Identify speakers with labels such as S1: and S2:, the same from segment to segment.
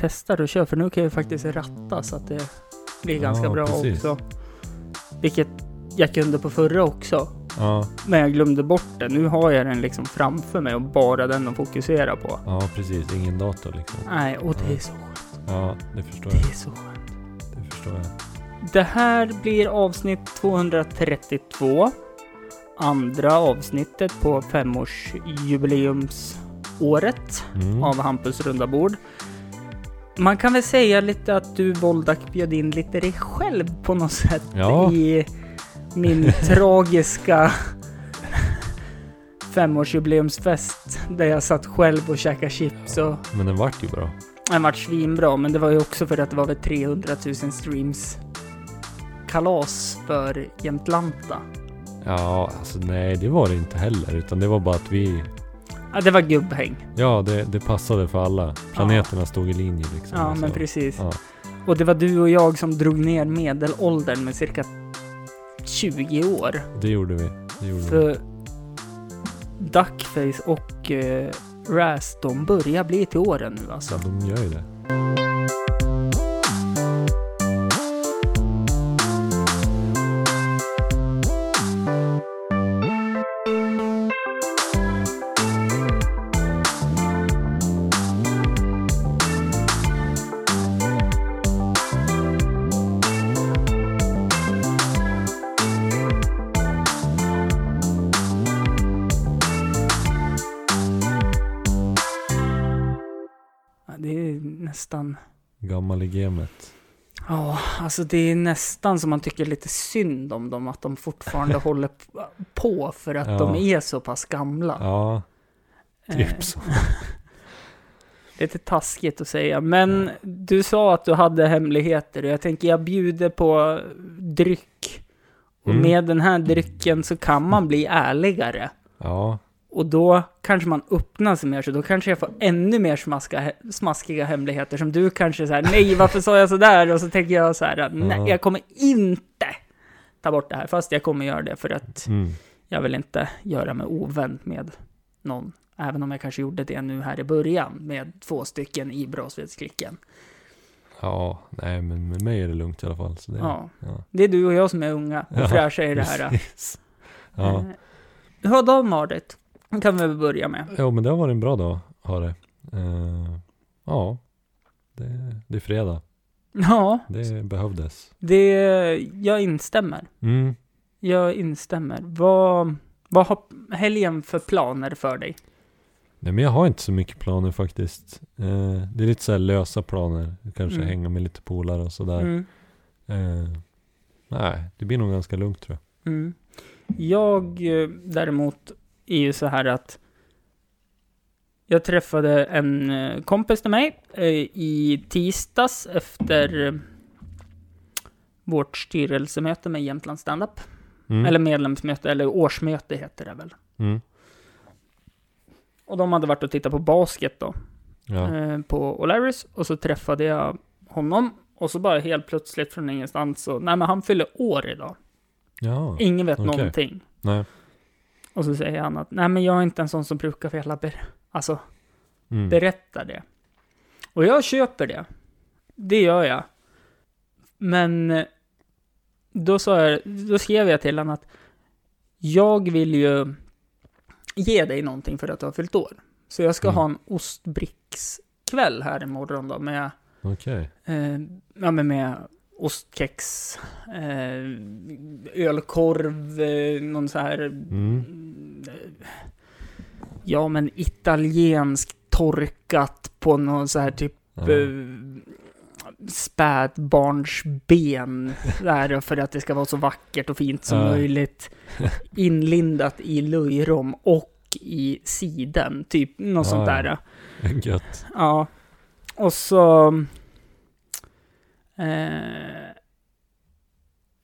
S1: testar och kör. För nu kan jag ju faktiskt ratta så att det blir ganska
S2: Ja,
S1: bra
S2: precis.
S1: också. Vilket jag kunde på förra också.
S2: Ja,
S1: Men jag glömde bort det. Nu har jag den liksom framför mig och bara den att fokusera på.
S2: ja, precis. Ingen dator liksom.
S1: Nej, och det är så skönt.
S2: Ja, det förstår
S1: Det
S2: jag.
S1: är så skönt.
S2: Det förstår jag.
S1: Det här blir avsnitt 232. Andra avsnittet på femårsjubileumsåret.
S2: Mm.
S1: av Hampus runda bord. Man kan väl säga lite att du Voldak bjöd in lite dig själv på något sätt
S2: Ja.
S1: i min tragiska femårsjubileumsfest där jag satt själv och käkade chips och
S2: Men den vart ju bra.
S1: den vart svinbra men det var ju också för att det var väl 300 000 streams kalas för Jämtlanta.
S2: Ja, alltså nej, det var det inte heller. Utan det var bara att vi...
S1: Ja, det var gubbhäng.
S2: Ja, det, det passade för alla. Planeterna stod i linje
S1: Ja,
S2: liksom. alltså.
S1: men precis.
S2: Ja.
S1: Och det var du och jag som drog ner medelåldern med cirka 20 år.
S2: Det gjorde vi. Det gjorde vi.
S1: För Duckface och eh, Raz, de börjar bli till åren nu alltså.
S2: Ja, de gör ju det.
S1: Ja, Det är nästan...
S2: Gammal i gamet.
S1: Ja, alltså det är nästan som man tycker lite synd om dem, att de fortfarande håller p- på för att
S2: Ja.
S1: de är så pass gamla.
S2: Ja,
S1: Eh,
S2: typ så.
S1: lite taskigt att säga, men
S2: Mm.
S1: du sa att du hade hemligheter och jag tänker jag bjuder på dryck. Och
S2: Mm.
S1: med den här drycken så kan man bli ärligare.
S2: Ja,
S1: Och då kanske man öppnar sig mer, så då kanske jag får ännu mer smaska, smaskiga hemligheter som du kanske så här, nej varför sa jag sådär? Och så tänker jag så här, nej
S2: Ja.
S1: jag kommer inte ta bort det här, fast jag kommer göra det för att
S2: mm.
S1: jag vill inte göra mig ovän med någon. Även om jag kanske gjorde det nu här i början med två stycken i Brasvedsklicken.
S2: ja, nej men med mig är det lugnt i alla fall. Så det,
S1: Ja.
S2: ja.
S1: Det är du och jag som är unga och
S2: Ja,
S1: fräscha i det här.
S2: Precis. Ja.
S1: Eh, Hur har dagen varit? Den kan vi väl börja med.
S2: Jo, men det har varit en bra dag, har det. Eh, ja, det, det är fredag.
S1: Ja,
S2: Det behövdes.
S1: det, jag instämmer.
S2: Mm.
S1: Jag instämmer. Vad, vad har helgen för planer för dig?
S2: Nej, men jag har inte så mycket planer faktiskt. Eh, det är lite så här lösa planer. Kanske
S1: Mm.
S2: hänga med lite polare och sådär.
S1: Mm.
S2: Eh, nej, det blir nog ganska lugnt tror jag.
S1: Mm. Jag eh, däremot är ju så här att jag träffade en eh, kompis till mig eh, i tisdags efter eh, vårt styrelsemöte med Jämtland Standup.
S2: Mm.
S1: Eller medlemsmöte, eller årsmöte heter det väl.
S2: Mm.
S1: Och de hade varit och tittat på basket då.
S2: Ja.
S1: eh, på O'Larrys och så träffade jag honom och så bara helt plötsligt från ingenstans så, nej men han fyller år idag.
S2: ja,
S1: Ingen vet
S2: Okej.
S1: någonting.
S2: nej.
S1: Och så säger han att, nej men jag är inte en sån som brukar vilja ber- alltså,
S2: Mm.
S1: berätta det. Och jag köper det. Det gör jag. Men eh, då, sa jag, då skrev jag till honom att jag vill ju ge dig någonting för att du har fyllt år. Så jag ska
S2: Mm.
S1: ha en ostbrickskväll här imorgon då med
S2: Okej.
S1: Eh, ja, men med ostkex, eh, ölkorv, eh, någon så här...
S2: Mm.
S1: mm, eh, Ja, men italiensk torkat på någon så här typ
S2: Ja.
S1: eh, spädbarnsben. Där för att det ska vara så vackert och fint som
S2: Ja.
S1: möjligt. Inlindat i löjrom och i siden, typ något
S2: Ja,
S1: sånt
S2: ja.
S1: där.
S2: Gött.
S1: Ja. Och så... Eh,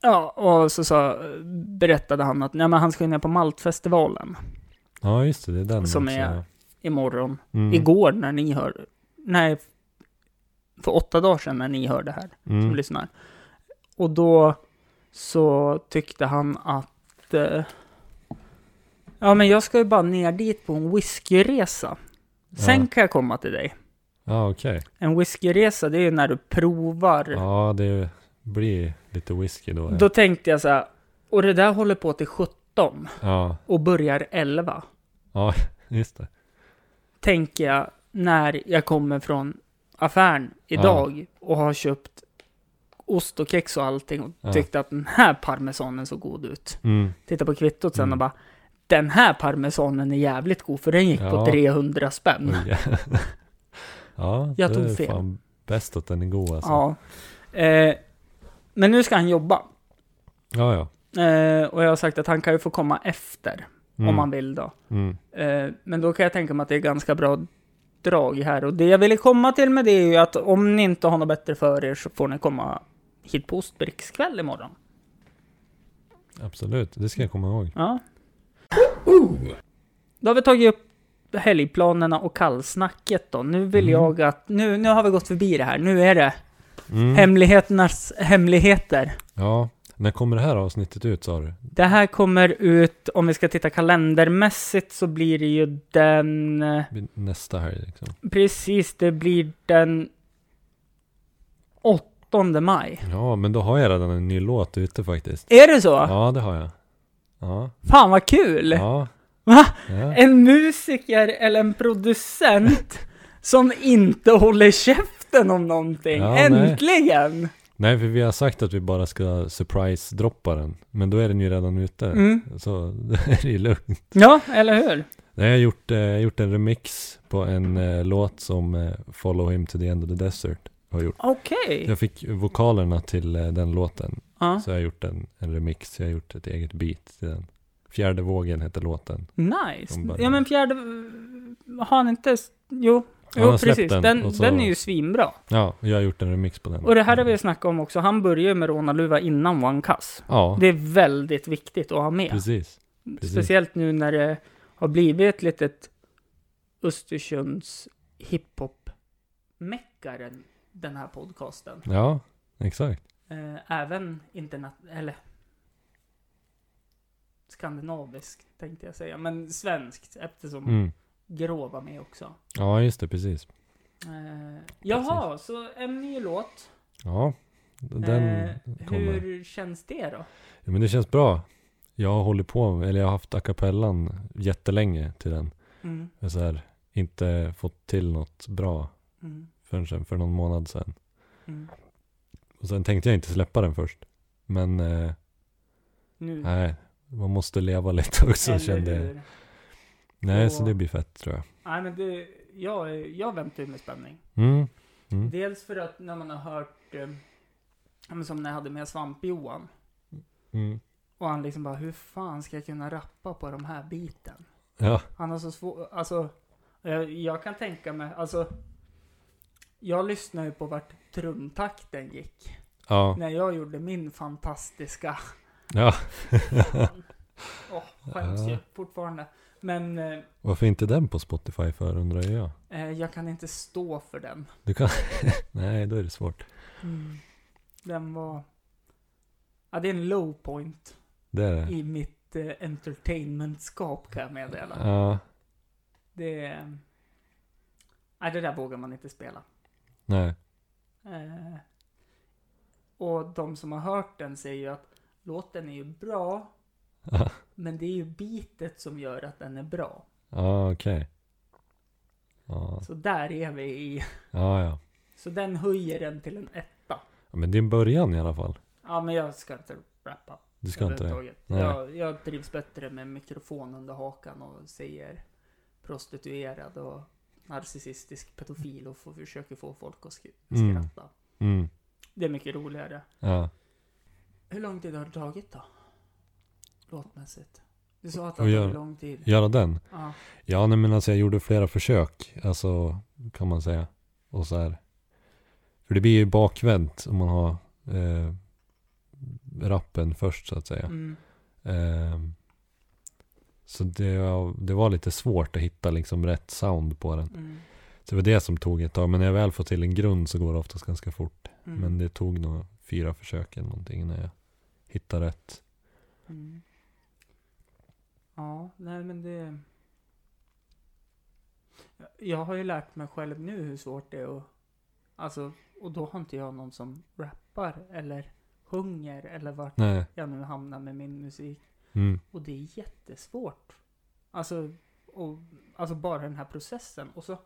S1: ja, och så, sa berättade han att nej, men han ska ner på Maltfestivalen
S2: Ja, just det. Det är den
S1: Som
S2: också,
S1: är-
S2: ja.
S1: imorgon.
S2: Mm.
S1: Igår när ni hör... Nej, för åtta dagar sedan när ni hör det här, som
S2: Mm.
S1: lyssnar. Och då så tyckte han att... Eh, ja, men jag ska ju bara ner dit på en whiskyresa. Sen
S2: Ja.
S1: kan jag komma till dig.
S2: Ja, okej.
S1: En whiskyresa, det är ju när du provar.
S2: Ja, det blir lite whisky då. Ja.
S1: Då tänkte jag så här, och det där håller på till 17
S2: ja,
S1: och börjar 11.
S2: just det.
S1: Tänker jag när jag kommer från affären idag och har köpt ost och kex och allting och
S2: Ja.
S1: tyckte att den här parmesanen såg god ut.
S2: Mm.
S1: Titta på kvittot sen
S2: Mm.
S1: och bara, den här parmesanen är jävligt god för den gick
S2: Ja.
S1: på 300 spänn.
S2: Oj, ja. Mm. ja,
S1: Jag
S2: det
S1: tog
S2: är
S1: fel.
S2: fan bäst att den är god alltså.
S1: Ja. Eh, men nu ska han jobba.
S2: Ja, ja.
S1: Eh, och jag har sagt att han kan ju få komma efter,
S2: Mm.
S1: om han vill då.
S2: Mm.
S1: Eh, men då kan jag tänka mig att det är ganska bra drag här. Och det jag ville komma till med det är ju att om ni inte har något bättre för er så får ni komma hit på Ostbrickskväll imorgon.
S2: Absolut, det ska jag komma ihåg.
S1: Ja. Då har vi tagit upp helgplanerna och kallsnacket då. Nu vill
S2: Mm.
S1: jag att... Nu, nu har vi gått förbi det här. Nu är det
S2: Mm.
S1: hemligheternas hemligheter.
S2: Ja, när kommer det här avsnittet ut sa du?
S1: Det här kommer ut, om vi ska titta kalendermässigt, så blir det ju den... eh,
S2: Vid Nästa helg liksom.
S1: Precis, det blir den 8 maj.
S2: Ja, men då har jag redan en ny låt ute faktiskt.
S1: Är det så?
S2: Ja, det har jag. Ja,
S1: Fan vad kul!
S2: ja.
S1: Va?
S2: ja.
S1: En musiker eller en producent som inte håller käften om någonting.
S2: Ja, nej.
S1: Äntligen!
S2: Nej, för vi har sagt att vi bara ska surprise-droppa den. Men då är den ju redan ute.
S1: Mm.
S2: Så det är ju lugnt.
S1: Ja, eller hur?
S2: Nej, jag har gjort, eh, jag har gjort en remix på en eh, låt som eh, Follow Him to the End of the Desert har gjort.
S1: Okej.
S2: Jag fick vokalerna till eh, den låten.
S1: Ja.
S2: Så jag har gjort en, en remix. Jag har gjort ett eget beat till den. Fjärde vågen heter låten.
S1: Nice.
S2: De bara-
S1: Ja, men fjärde... Har han inte... Jo,
S2: han
S1: jo
S2: har släppt
S1: precis.
S2: den,
S1: Den,
S2: och så-
S1: den är ju svinbra.
S2: Ja, och jag har gjort en remix på den.
S1: Och det här har vi snackat om också. Han börjar ju med rånarluva innan One Cuss.
S2: Ja,
S1: Det är väldigt viktigt att ha med.
S2: precis. precis.
S1: Speciellt nu när det har blivit ett litet Östersunds hiphop-meckaren, den här podcasten.
S2: Ja, exakt.
S1: Eh, även internationellt, eller skandinaviskt tänkte jag säga, men svenskt eftersom
S2: Mm.
S1: Grå var med också.
S2: Ja, just det, precis.
S1: Eh, jaha, så en ny låt.
S2: Ja, den
S1: Eh,
S2: kommer.
S1: hur känns det då?
S2: Ja, men det känns bra. Jag har hållit på, eller jag har haft a cappellan jättelänge till den.
S1: Mm,
S2: Jag har så här, inte fått till något bra
S1: mm,
S2: förrän sen, för någon månad sedan.
S1: mm.
S2: Och sen tänkte jag inte släppa den först. Men eh,
S1: Nu.
S2: nej, man måste leva lite också
S1: Eller
S2: kände jag.
S1: hur?
S2: Nej,
S1: Och-
S2: så det blir fett tror jag.
S1: Nej, men det, jag, jag väntar ju med spänning.
S2: Mm. Mm.
S1: Dels för att när man har hört, eh, ja, men som när jag hade med Svamp-Johan,
S2: Mm.
S1: och han liksom bara hur fan ska jag kunna rappa på de här biten?
S2: Ja,
S1: Han har så svårt, alltså, jag, jag kan tänka mig, alltså, jag lyssnar ju på vart trumtakten gick
S2: ja,
S1: när jag gjorde min fantastiska,
S2: ja.
S1: åh, skäms
S2: Ja.
S1: ju fortfarande. Men eh,
S2: Varför inte den på Spotify för undrar jag.
S1: eh, jag kan inte stå för den.
S2: Du kan... nej, då är det svårt.
S1: Den var, ja det är en low point.
S2: Det är det.
S1: i mitt eh, entertainmentskap kan jag meddela.
S2: Ja,
S1: Det är... Nej, det där vågar man inte spela.
S2: nej.
S1: Eh, och de som har hört den säger ju att låten är ju bra,
S2: Ja,
S1: men det är ju bitet som gör att den är bra.
S2: ja okej. Ja,
S1: Så där är vi i.
S2: ja, ja.
S1: Så den höjer den till en etta.
S2: Ja, Men det är en början i alla fall.
S1: Ja, men jag ska inte rappa.
S2: Du ska inte det?
S1: överhuvudtaget.
S2: Nej.
S1: Jag, jag trivs bättre med mikrofon under hakan och säger prostituerad och narcissistisk pedofil och får, försöker få folk att sk-
S2: Mm.
S1: skratta.
S2: Mm.
S1: Det är mycket roligare.
S2: Ja.
S1: Hur lång tid har det tagit då? Låtmässigt. Du sa att det
S2: Och
S1: har
S2: gör-
S1: tagit lång tid.
S2: Göra den?
S1: Ja.
S2: Ja, nej men alltså jag gjorde flera försök. Alltså, kan man säga. Och så här. För det blir ju bakvänt om man har eh, rappen först så att säga.
S1: Mm.
S2: Ehm, så det, var- det var lite svårt att hitta liksom rätt sound på den.
S1: Mm.
S2: Så det var det som tog ett tag. Men när jag väl får till en grund så går det oftast ganska fort.
S1: Mm.
S2: Men det tog nog fyra försök eller någonting när jag hittade rätt.
S1: Mm. Ja, nej men det... Jag har ju lärt mig själv nu hur svårt det är att... Alltså, och då har inte jag någon som rappar eller sjunger eller vart
S2: Nej.
S1: jag nu hamnar med min musik.
S2: Mm.
S1: Och det är jättesvårt. Alltså, och, alltså bara den här processen. Och så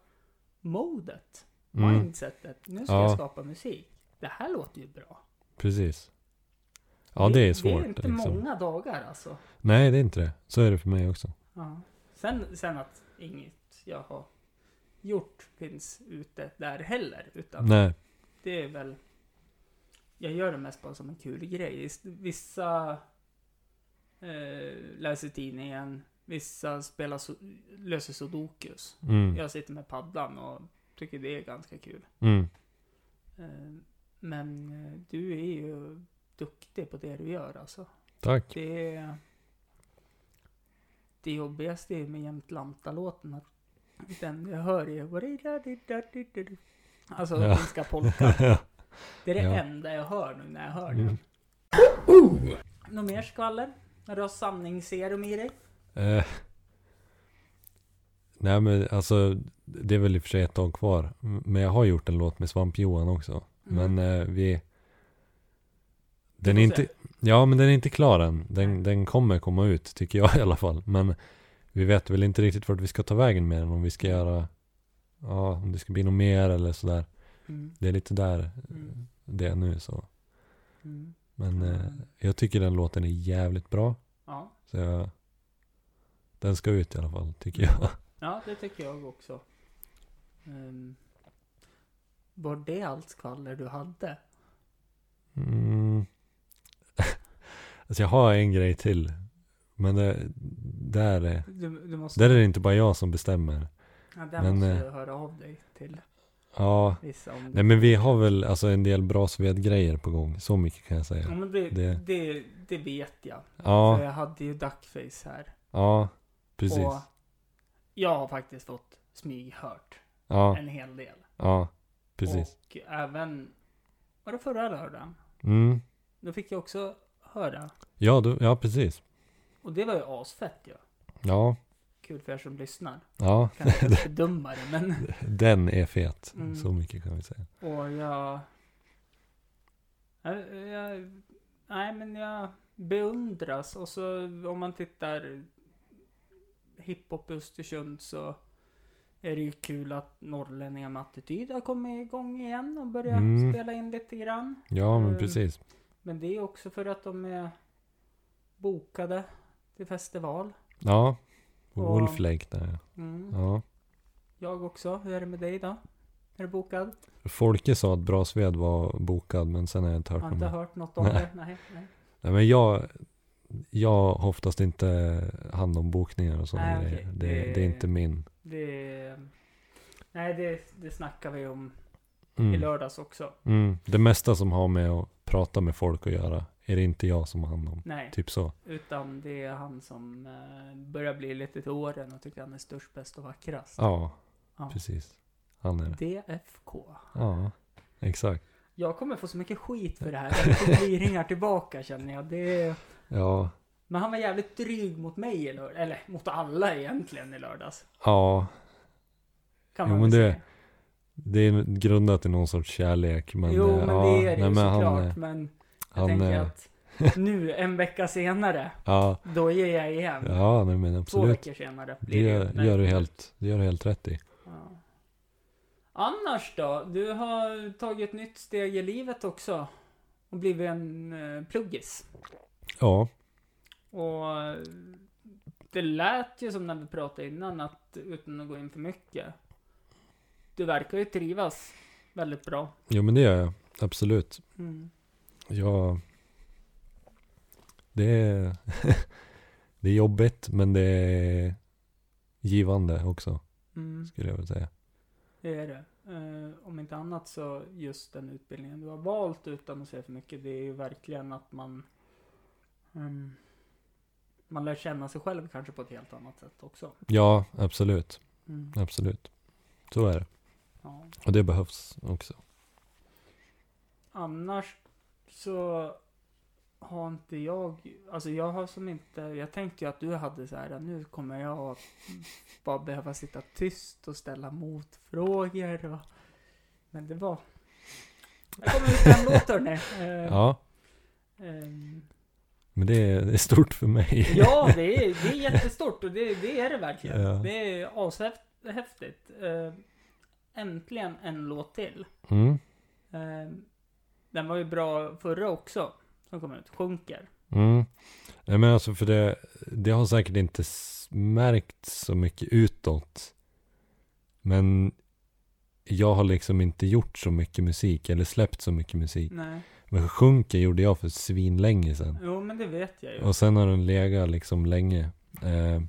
S1: modet,
S2: Mm.
S1: mindsetet. Nu ska
S2: Ja.
S1: jag skapa musik. Det här låter ju bra.
S2: Precis. Ja, det är svårt.
S1: Det är inte
S2: liksom.
S1: många dagar alltså.
S2: Nej, det är inte det. Så är det för mig också.
S1: Ja. Sen, sen att inget jag har gjort finns ute där heller. Utan
S2: Nej.
S1: det är väl... Jag gör det mest bara som en kul grej. Vis- Vissa eh, läser tidningen, vissa spelar so löser sudokus.
S2: Mm.
S1: Jag sitter med paddlan och tycker det är ganska kul.
S2: Mm.
S1: Eh, men eh, du är ju duktig på det du gör alltså.
S2: Tack.
S1: Det är... Det jobbigaste är med jämt låten att den jag hör är... Alltså
S2: Ja.
S1: finska polka. Det är det
S2: Ja.
S1: enda jag hör nu när jag hör den.
S2: Mm.
S1: Något mer skvaller? När du har sanningsserum i dig?
S2: Eh, nej men alltså, det är väl i och för sig ett tag kvar. M- Men jag har gjort en låt med Svamp-Johan också.
S1: Mm.
S2: Men eh, vi...
S1: Vi
S2: Den
S1: får
S2: är
S1: se.
S2: inte... Ja, men den är inte klar än.
S1: Nej.
S2: Den, den kommer komma ut, tycker jag i alla fall. Men vi vet väl inte riktigt vart vi ska ta vägen med den. Om vi ska göra... Ja, om det ska bli något mer eller sådär.
S1: Mm.
S2: Det är lite där
S1: Mm.
S2: det är nu så.
S1: Mm.
S2: Men eh, jag tycker den låten är jävligt bra.
S1: Ja.
S2: Så jag... Den ska ut i alla fall, tycker jag.
S1: ja, det tycker jag också. Ehm, var det allt skvaller du hade?
S2: Mm. alltså jag har en grej till. Men det, där, är-
S1: Du, du måste,
S2: där är det inte bara jag som bestämmer.
S1: ja, där
S2: men,
S1: måste
S2: eh,
S1: du höra av dig till
S2: Ja,
S1: vissa om
S2: nej men vi har väl alltså en del bra grejer på gång. Så mycket kan jag
S1: Ja,
S2: säga.
S1: men det, det.
S2: Det-
S1: Det, vet jag. För
S2: Ja,
S1: Mm. jag hade ju duckface här.
S2: ja, precis.
S1: Och jag har faktiskt fått smyghört
S2: Ja,
S1: en hel del.
S2: ja, precis.
S1: Och även, var det förra lördagen?
S2: Mm.
S1: Då fick jag också höra.
S2: Ja, du, ja, precis.
S1: Och det var ju asfett ju.
S2: Ja,
S1: Kul för er som lyssnar.
S2: ja,
S1: Kanske inte bedöma det men.
S2: den är fet.
S1: Mm.
S2: Så mycket kan vi säga.
S1: Och jag... jag, jag nej, men jag beundras. Och så om man tittar hiphop i Östersund så är det ju kul att norrlänningar med attityd har kommit igång igen och börjat
S2: Mm.
S1: spela in lite grann.
S2: Ja, men
S1: Mm.
S2: precis.
S1: Men det är också för att de är bokade till festival.
S2: Ja,
S1: Och-
S2: Wolf Lake där.
S1: Mm.
S2: Ja.
S1: Jag också. Hur är det med dig då? Är du bokad?
S2: Folke sa att Brasved var bokad, men sen har jag inte hört
S1: Jag har
S2: något
S1: inte
S2: mer.
S1: hört något om
S2: Nej.
S1: det. Nej, nej.
S2: Nej men jag, jag har oftast inte hand om bokningar och sådana
S1: Nej,
S2: grejer.
S1: okej.
S2: Det,
S1: Det-
S2: det... är inte min.
S1: Det... Nej, det, det snackar vi om i
S2: Mm.
S1: lördags också.
S2: Mm. Det mesta som har med att prata med folk att göra är det inte jag som har hand om.
S1: Nej,
S2: Typ så.
S1: utan det är han som eh, börjar bli lite till åren och tycker han är störst, bäst och vackrast.
S2: Ja,
S1: Ja.
S2: precis. Han är det.
S1: DFK.
S2: Ja, exakt.
S1: Jag kommer få så mycket skit för det här. Jag kommer bli ringar tillbaka känner jag. Det är...
S2: Ja,
S1: Men han var jävligt dryg mot mig i lördags. Eller mot alla egentligen i lördags.
S2: ja.
S1: Kan
S2: Jo,
S1: man
S2: men
S1: väl
S2: det-
S1: säga.
S2: Det är grundat i någon sorts kärlek. Men,
S1: jo,
S2: eh,
S1: men
S2: ja,
S1: det är det
S2: nej,
S1: ju
S2: men
S1: såklart.
S2: han, eh,
S1: men jag
S2: han,
S1: tänker
S2: eh,
S1: att nu, en vecka senare,
S2: Ja,
S1: då ger jag igen.
S2: ja nej, men
S1: Två
S2: absolut.
S1: veckor senare
S2: Det
S1: blir
S2: gör,
S1: ju, men-
S2: gör, du helt, det gör du helt rätt i.
S1: Ja. Annars då? Du har tagit ett nytt steg i livet också. Och blivit en eh, pluggis.
S2: Ja,
S1: Och eh, det lät ju som när vi pratade innan att utan att gå in för mycket. Du verkar ju trivas väldigt bra.
S2: jo men det gör jag. Absolut.
S1: Mm.
S2: Ja, det är, det är jobbigt men det är givande också
S1: Mm,
S2: skulle jag vilja säga.
S1: det är det. Eh, om inte annat så just den utbildningen du har valt utan att säga för mycket. Det är ju verkligen att man ehm, man lär känna sig själv kanske på ett helt annat sätt också.
S2: Ja, absolut.
S1: Mm.
S2: Absolut. Så är det.
S1: Ja.
S2: Och det behövs också.
S1: Annars så har inte jag... Alltså jag har som inte... Jag tänkte ju att du hade så här, nu kommer jag bara behöva sitta tyst och ställa motfrågor och... Men det var... Jag kommer ut en låt hörni. Eh,
S2: Ja,
S1: ehm,
S2: men det är, det är stort för mig.
S1: ja, det är, det är jättestort och det, det är det verkligen.
S2: Ja.
S1: Det är ashäftigt. Eh, äntligen en låt till.
S2: Mm,
S1: Eh, den var ju bra förra också. Som kom ut. Sjunker.
S2: mm. Nej, men alltså för det, det har säkert inte s- märkt så mycket utåt. Men jag har liksom inte gjort så mycket musik eller släppt så mycket musik.
S1: Nej.
S2: Men Sjunker gjorde jag för svinlänge sedan.
S1: Jo, men det vet jag ju.
S2: Och sen har den legat liksom länge. Eh,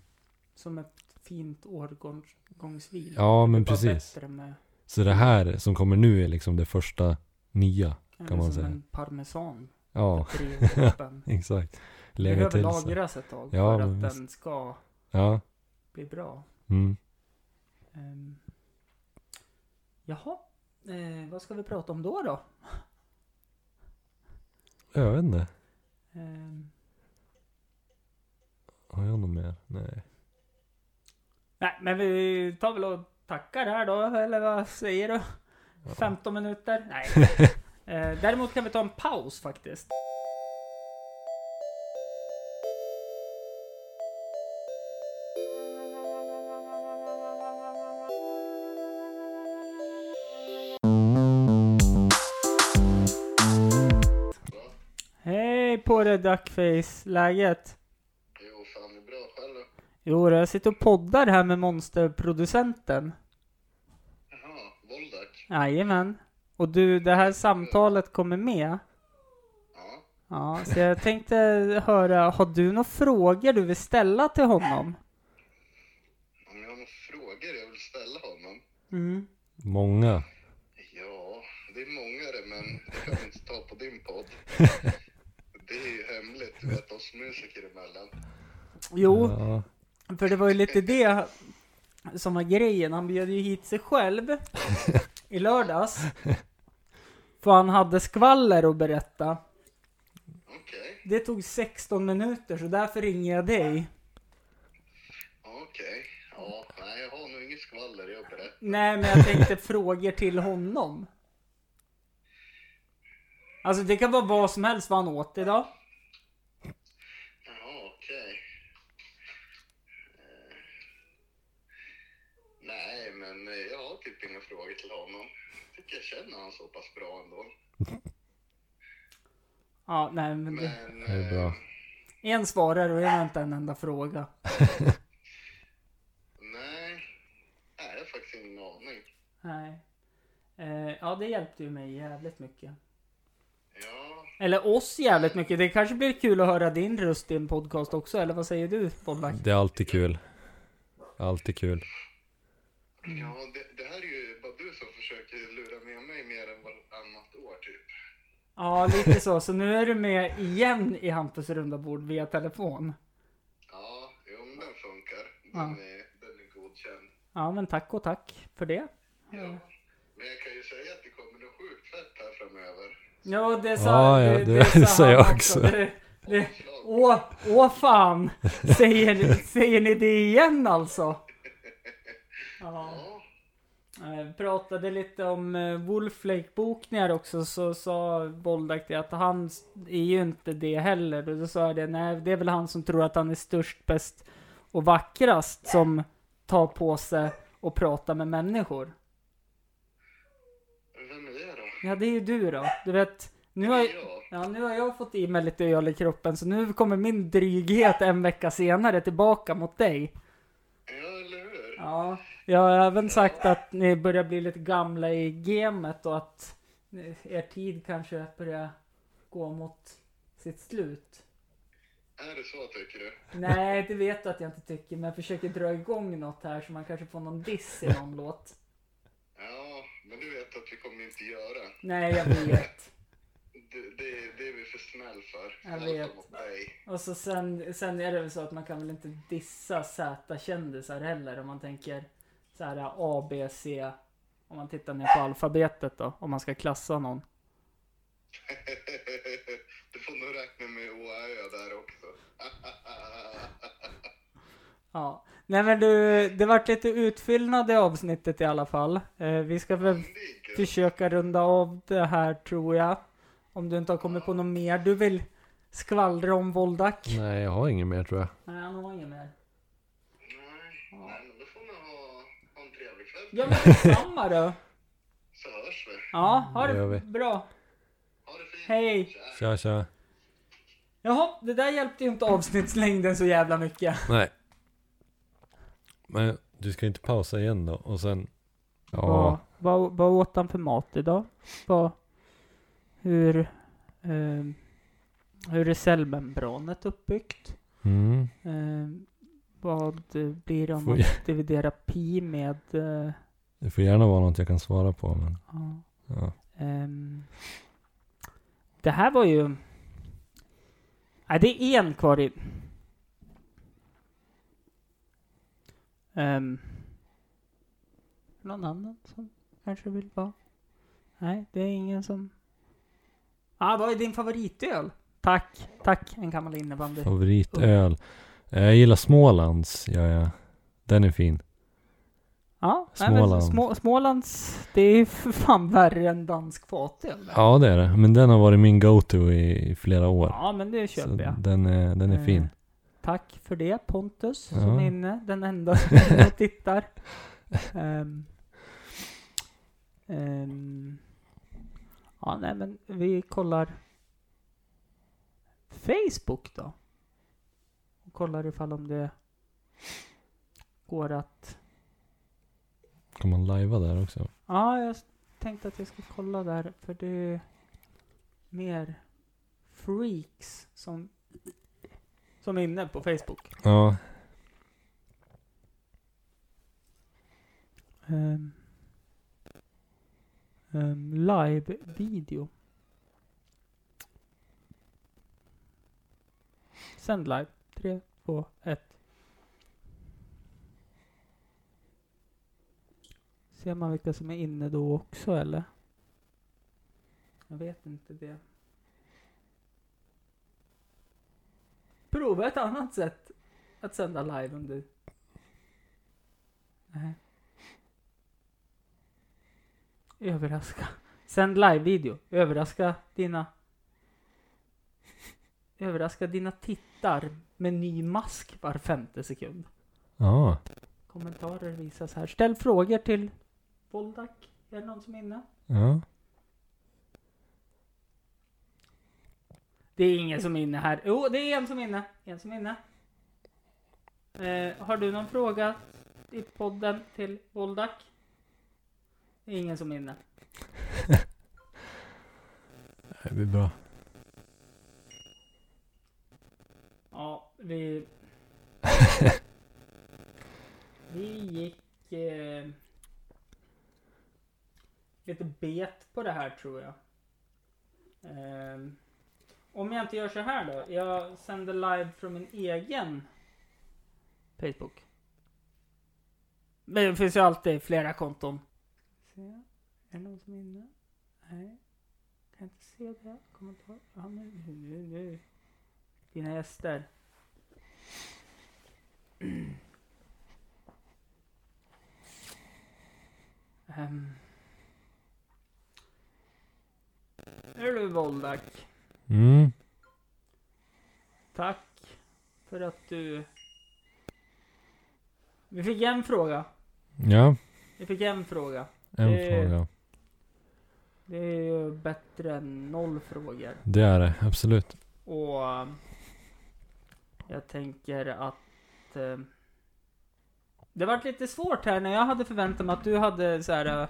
S1: Som ett fint årgångsvin.
S2: ja, men
S1: Bara
S2: precis.
S1: Bättre med,
S2: Så det här som kommer nu är liksom det första nya.
S1: kan man
S2: säga.
S1: säga. liksom en parmesan.
S2: Ja,
S1: för tre år öppen.
S2: exakt.
S1: Det
S2: Lägga
S1: behöver
S2: till sig.
S1: lagras ett tag
S2: Ja,
S1: för att
S2: men
S1: den ska
S2: Ja.
S1: bli bra.
S2: Mm.
S1: Ehm. jaha, eh, vad ska vi prata om då då?
S2: Jag vet inte.
S1: Ehm.
S2: Har jag något mer? Nej.
S1: nej, men vi tar väl och tackar här då, eller vad säger du?
S2: Ja.
S1: 15 minuter? Nej. Eh, Däremot kan vi ta en paus faktiskt. Hej på dig Duckface, läget?
S3: Jo, fan det är bra. Själv då?
S1: Jo, jag sitter och poddar här med monsterproducenten.
S3: Jaha, Voldak?
S1: Jajamän. Och du, det här samtalet kommer med.
S3: Ja.
S1: Ja, så jag tänkte höra, har du några frågor du vill ställa till honom?
S3: Om jag har några frågor jag vill ställa honom?
S1: Mm.
S2: Många.
S3: Ja, det är många det, men det kan vi inte ta på din podd. Det är ju hemligt, du vet, oss musiker emellan.
S1: Jo,
S2: Ja.
S1: för det var ju lite det som var grejen. Han bjöd ju hit sig själv i lördags. För han hade skvaller att berätta.
S3: Okej,
S1: Det tog 16 minuter, så därför ringer jag dig.
S3: okej. Ja, nej, jag har nog inget skvaller, jag berättar.
S1: Nej, men jag tänkte frågor till honom. Alltså det kan vara vad som helst vad han åt idag.
S3: Jaha, okej. Eh, Nej, men eh, jag har typ inga frågor till honom. Jag tycker jag känner han så pass bra ändå.
S1: Ja, nej men det...
S3: Men...
S2: Det är bra.
S3: eh,
S1: En svarar och jag har inte en enda fråga.
S3: Nej, nej jag har faktiskt ingen aning.
S1: Nej. Eh, ja, det hjälpte ju mig jävligt mycket.
S3: Ja,
S1: Eller oss jävligt mycket. Det kanske blir kul att höra din röst i en podcast också, eller vad säger du, Bollback?
S2: Det är alltid kul. Alltid kul.
S3: ja
S1: Mm.
S3: det, det här är ju bara du som försöker lura med mig mer än varannat år typ.
S1: Ja, lite så. Så nu är du med igen i Hampus runda bord via telefon.
S3: Ja, jo men den funkar. Den,
S1: Ja.
S3: är, den är godkänd.
S1: Ja, men tack och tack för det.
S3: Ja. Men jag kan ju säga att det kommer något sjukt fett här framöver.
S1: Ja, det sa,
S2: Ja, ja,
S1: det,
S2: det
S1: det sa
S2: säger
S1: han
S2: jag också.
S1: Det, det,
S3: Slag.
S1: åh, åh fan! Säger, säger ni det igen alltså? Ja.
S3: Ja,
S1: Eh, pratade lite om eh, Wolf Lake-bokningar också så sa Boldak det att han s- är ju inte det heller. Och då sa jag det, nej det är väl han som tror att han är störst, bäst och vackrast som tar på sig och pratar med människor.
S3: vem är det då?
S1: Ja det är ju du då. Du vet, nu har,
S3: Ja.
S1: ja, nu har jag fått i mig lite öl i kroppen så nu kommer min dryghet en vecka senare tillbaka mot dig.
S3: Ja, eller hur?
S1: Ja, jag har även sagt att ni börjar bli lite gamla i gamet och att er tid kanske börjar gå mot sitt slut.
S3: Är det så tycker du?
S1: Nej, det vet du att jag inte tycker, men jag försöker dra igång något här så man kanske får någon diss i någon låt.
S3: Ja, men du vet att vi kommer inte göra.
S1: Nej, jag vet.
S3: Det, det, det är vi för snäll för.
S1: Jag vet.
S3: Snällt mot dig.
S1: Och så sen, sen är det väl så att man kan väl inte dissa Z-kändisar heller om man tänker så här A, B, C. Om man tittar ner på alfabetet då, om man ska klassa någon.
S3: du får nog räkna med
S1: Ja. Nej men du, det vart lite utfyllnad i avsnittet i alla fall. Eh, vi ska väl
S3: Men det är gött.
S1: försöka runda av det här tror jag. Om du inte har kommit på något mer du vill skvallra om Voldak?
S2: Nej, jag har inget mer tror jag.
S1: Nej, han har inget mer.
S3: Nej,
S1: Ja.
S3: nej, men då får ni ha, ha en trevlig kväll.
S1: Ja men detsamma då.
S3: Så hörs vi.
S1: Ja, ha
S2: Mm, Det gör vi.
S1: det bra.
S3: Ha det fint.
S1: Hej.
S2: Tja,
S3: Tja.
S2: tja.
S1: Jaha, det där hjälpte ju inte avsnittslängden så jävla mycket.
S2: Nej. Men du ska inte pausa igen då? Och sen... Ja.
S1: Vad, vad, vad åt han för mat idag? Vad, hur, eh, hur är Selbenbranet uppbyggt?
S2: Mm.
S1: Eh, vad blir det om
S2: Får
S1: man
S2: jag-
S1: dividerar pi med? Eh,
S2: Det får gärna vara något jag kan svara på. Men,
S1: ja.
S2: ja.
S1: Ehm, det här var ju... Nej, det är en kvar i... Ehm, någon annan som kanske vill vara? Nej, det är ingen som... Ah, vad är din favoritöl? Tack, tack en gammal innebandy.
S2: Favoritöl. Eh, Jag gillar Smålands. Ja, ja. Den är fin.
S1: Ja, nej, men
S2: Småland.
S1: små, Smålands, det är ju för fan värre än dansk fatöl.
S2: Ja, det är det. Men den har varit min go-to i, i flera år.
S1: Ja, men det
S2: Så
S1: köper jag.
S2: den är, den är
S1: Eh,
S2: fin.
S1: Tack för det Pontus,
S2: Ja.
S1: som är inne. Den enda som är inne och tittar. Ehm. Ehm. ja, nej men vi kollar Facebook då. Och kollar ifall om det går att...
S2: Kan man lajva där också?
S1: Ja, jag s- tänkte att jag skulle kolla där, för det är mer freaks som, som är inne på Facebook.
S2: Ja.
S1: Ehm. Ehm, live video. Sänd live. Tre, två, ett. Ser man vilka som är inne då också eller? Jag vet inte det. Prova ett annat sätt att sända live om du... Nej. Överraska. Sänd live-video. Överraska dina... Överraska dina tittar med ny mask var femte sekund.
S2: Ja.
S1: Kommentarer visas här. Ställ frågor till Voldak. Är det någon som är inne?
S2: Ja.
S1: Det är ingen som är inne här. Jo, det är en som är inne. En som är inne. Eh, har du någon fråga i podden till Voldak? Det är ingen som är inne.
S2: Det blir bra.
S1: Ja, vi... vi gick eh, lite bet på det här tror jag. Ehm, om jag inte gör så här då. Jag sänder live från min egen Facebook. Men det finns ju alltid flera konton. Se. Är det någon som är inne? Nej. Kan inte se det. Kommentar. Ja, nu, nu, nu. Dina gäster. Ehm. Hör du Voldak,
S2: Mm.
S1: tack för att du... Vi fick en fråga.
S2: Ja.
S1: Vi fick en fråga.
S2: En
S1: Eh.
S2: fråga.
S1: Det är ju bättre än noll frågor.
S2: Det är det. Absolut.
S1: Och eh, jag tänker att eh, det varit lite svårt här när jag hade förväntat mig att du hade så här eh,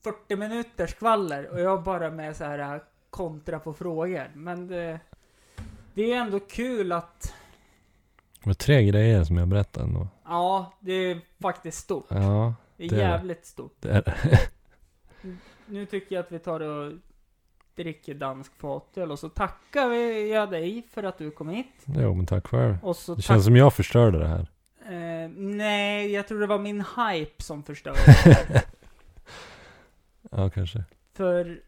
S1: 40 minuters skvaller och jag bara med så här eh, kontra på frågor. Men det, det är ju ändå kul att
S2: Det var tre grejer som jag berättade ändå.
S1: ja, det är faktiskt stort.
S2: Ja.
S1: Det är
S2: det är det.
S1: jävligt stort.
S2: Det är det.
S1: Nu tycker jag att vi tar och dricker dansk fatöl och så tackar vi jag dig för att du kom hit.
S2: Jo, men tack själv.
S1: Och så
S2: Det
S1: tack-
S2: känns som jag förstörde det här.
S1: Eh, nej, jag tror det var min hype som förstörde det här.
S2: Ja, kanske.
S1: för,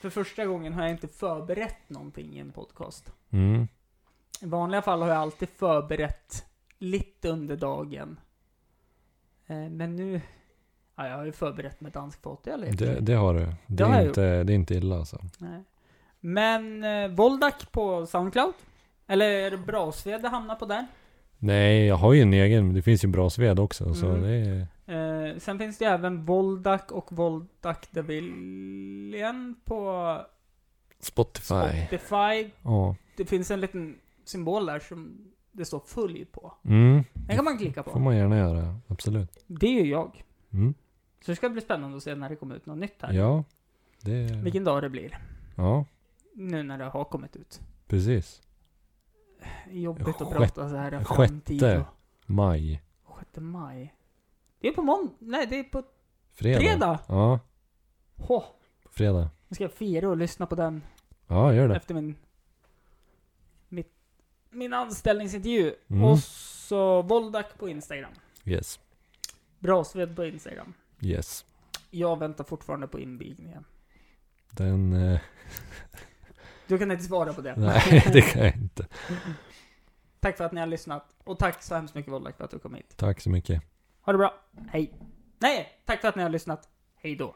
S1: för första gången har jag inte förberett någonting i en podcast.
S2: Mm.
S1: I vanliga fall har jag alltid förberett lite under dagen. Eh, men nu... Ja, jag har ju förberett mig dansk fotöl helt
S2: Det,
S1: enkelt.
S2: det har du. Det,
S1: har
S2: är
S1: jag
S2: inte, det är inte illa alltså.
S1: Nej. Men eh, Voldak på Soundcloud? Eller är det Brasved det hamnar på där?
S2: Nej, jag har ju en egen, men det finns ju Brasved också. Så
S1: Mm.
S2: det är,
S1: Eh, sen finns det ju även Voldak och Voldak the Villian på
S2: Spotify.
S1: Spotify.
S2: Ja.
S1: Det finns en liten symbol där som det står följ på.
S2: Mm.
S1: Den kan man klicka
S2: får
S1: på.
S2: man gärna göra. Absolut.
S1: Det är ju jag.
S2: Mm.
S1: Så det ska bli spännande att se när det kommer ut något nytt här.
S2: Ja, det...
S1: Vilken dag det blir.
S2: Ja,
S1: Nu när det har kommit ut.
S2: precis.
S1: Jobbigt att
S2: Sjätte-
S1: prata så här i
S2: sjätte.
S1: framtid. och-
S2: Maj.
S1: Sjätte maj. Det är på måndag. Nej, det är på
S2: Fredag.
S1: fredag.
S2: Ja,
S1: Hå.
S2: på fredag.
S1: Nu ska jag fira och lyssna på den
S2: Ja, gör det.
S1: efter min, mitt, min anställningsintervju.
S2: Mm.
S1: Och så Voldak på Instagram.
S2: Yes.
S1: Brasved på Instagram.
S2: Yes.
S1: Jag väntar fortfarande på invigningen.
S2: Den... Eh,
S1: Du kan inte svara på det.
S2: nej, det kan jag inte.
S1: Tack för att ni har lyssnat. Och tack så hemskt mycket Voldak för att du kom hit.
S2: Tack så mycket.
S1: Ha det bra. Hej. Nej, tack för att ni har lyssnat. Hej då.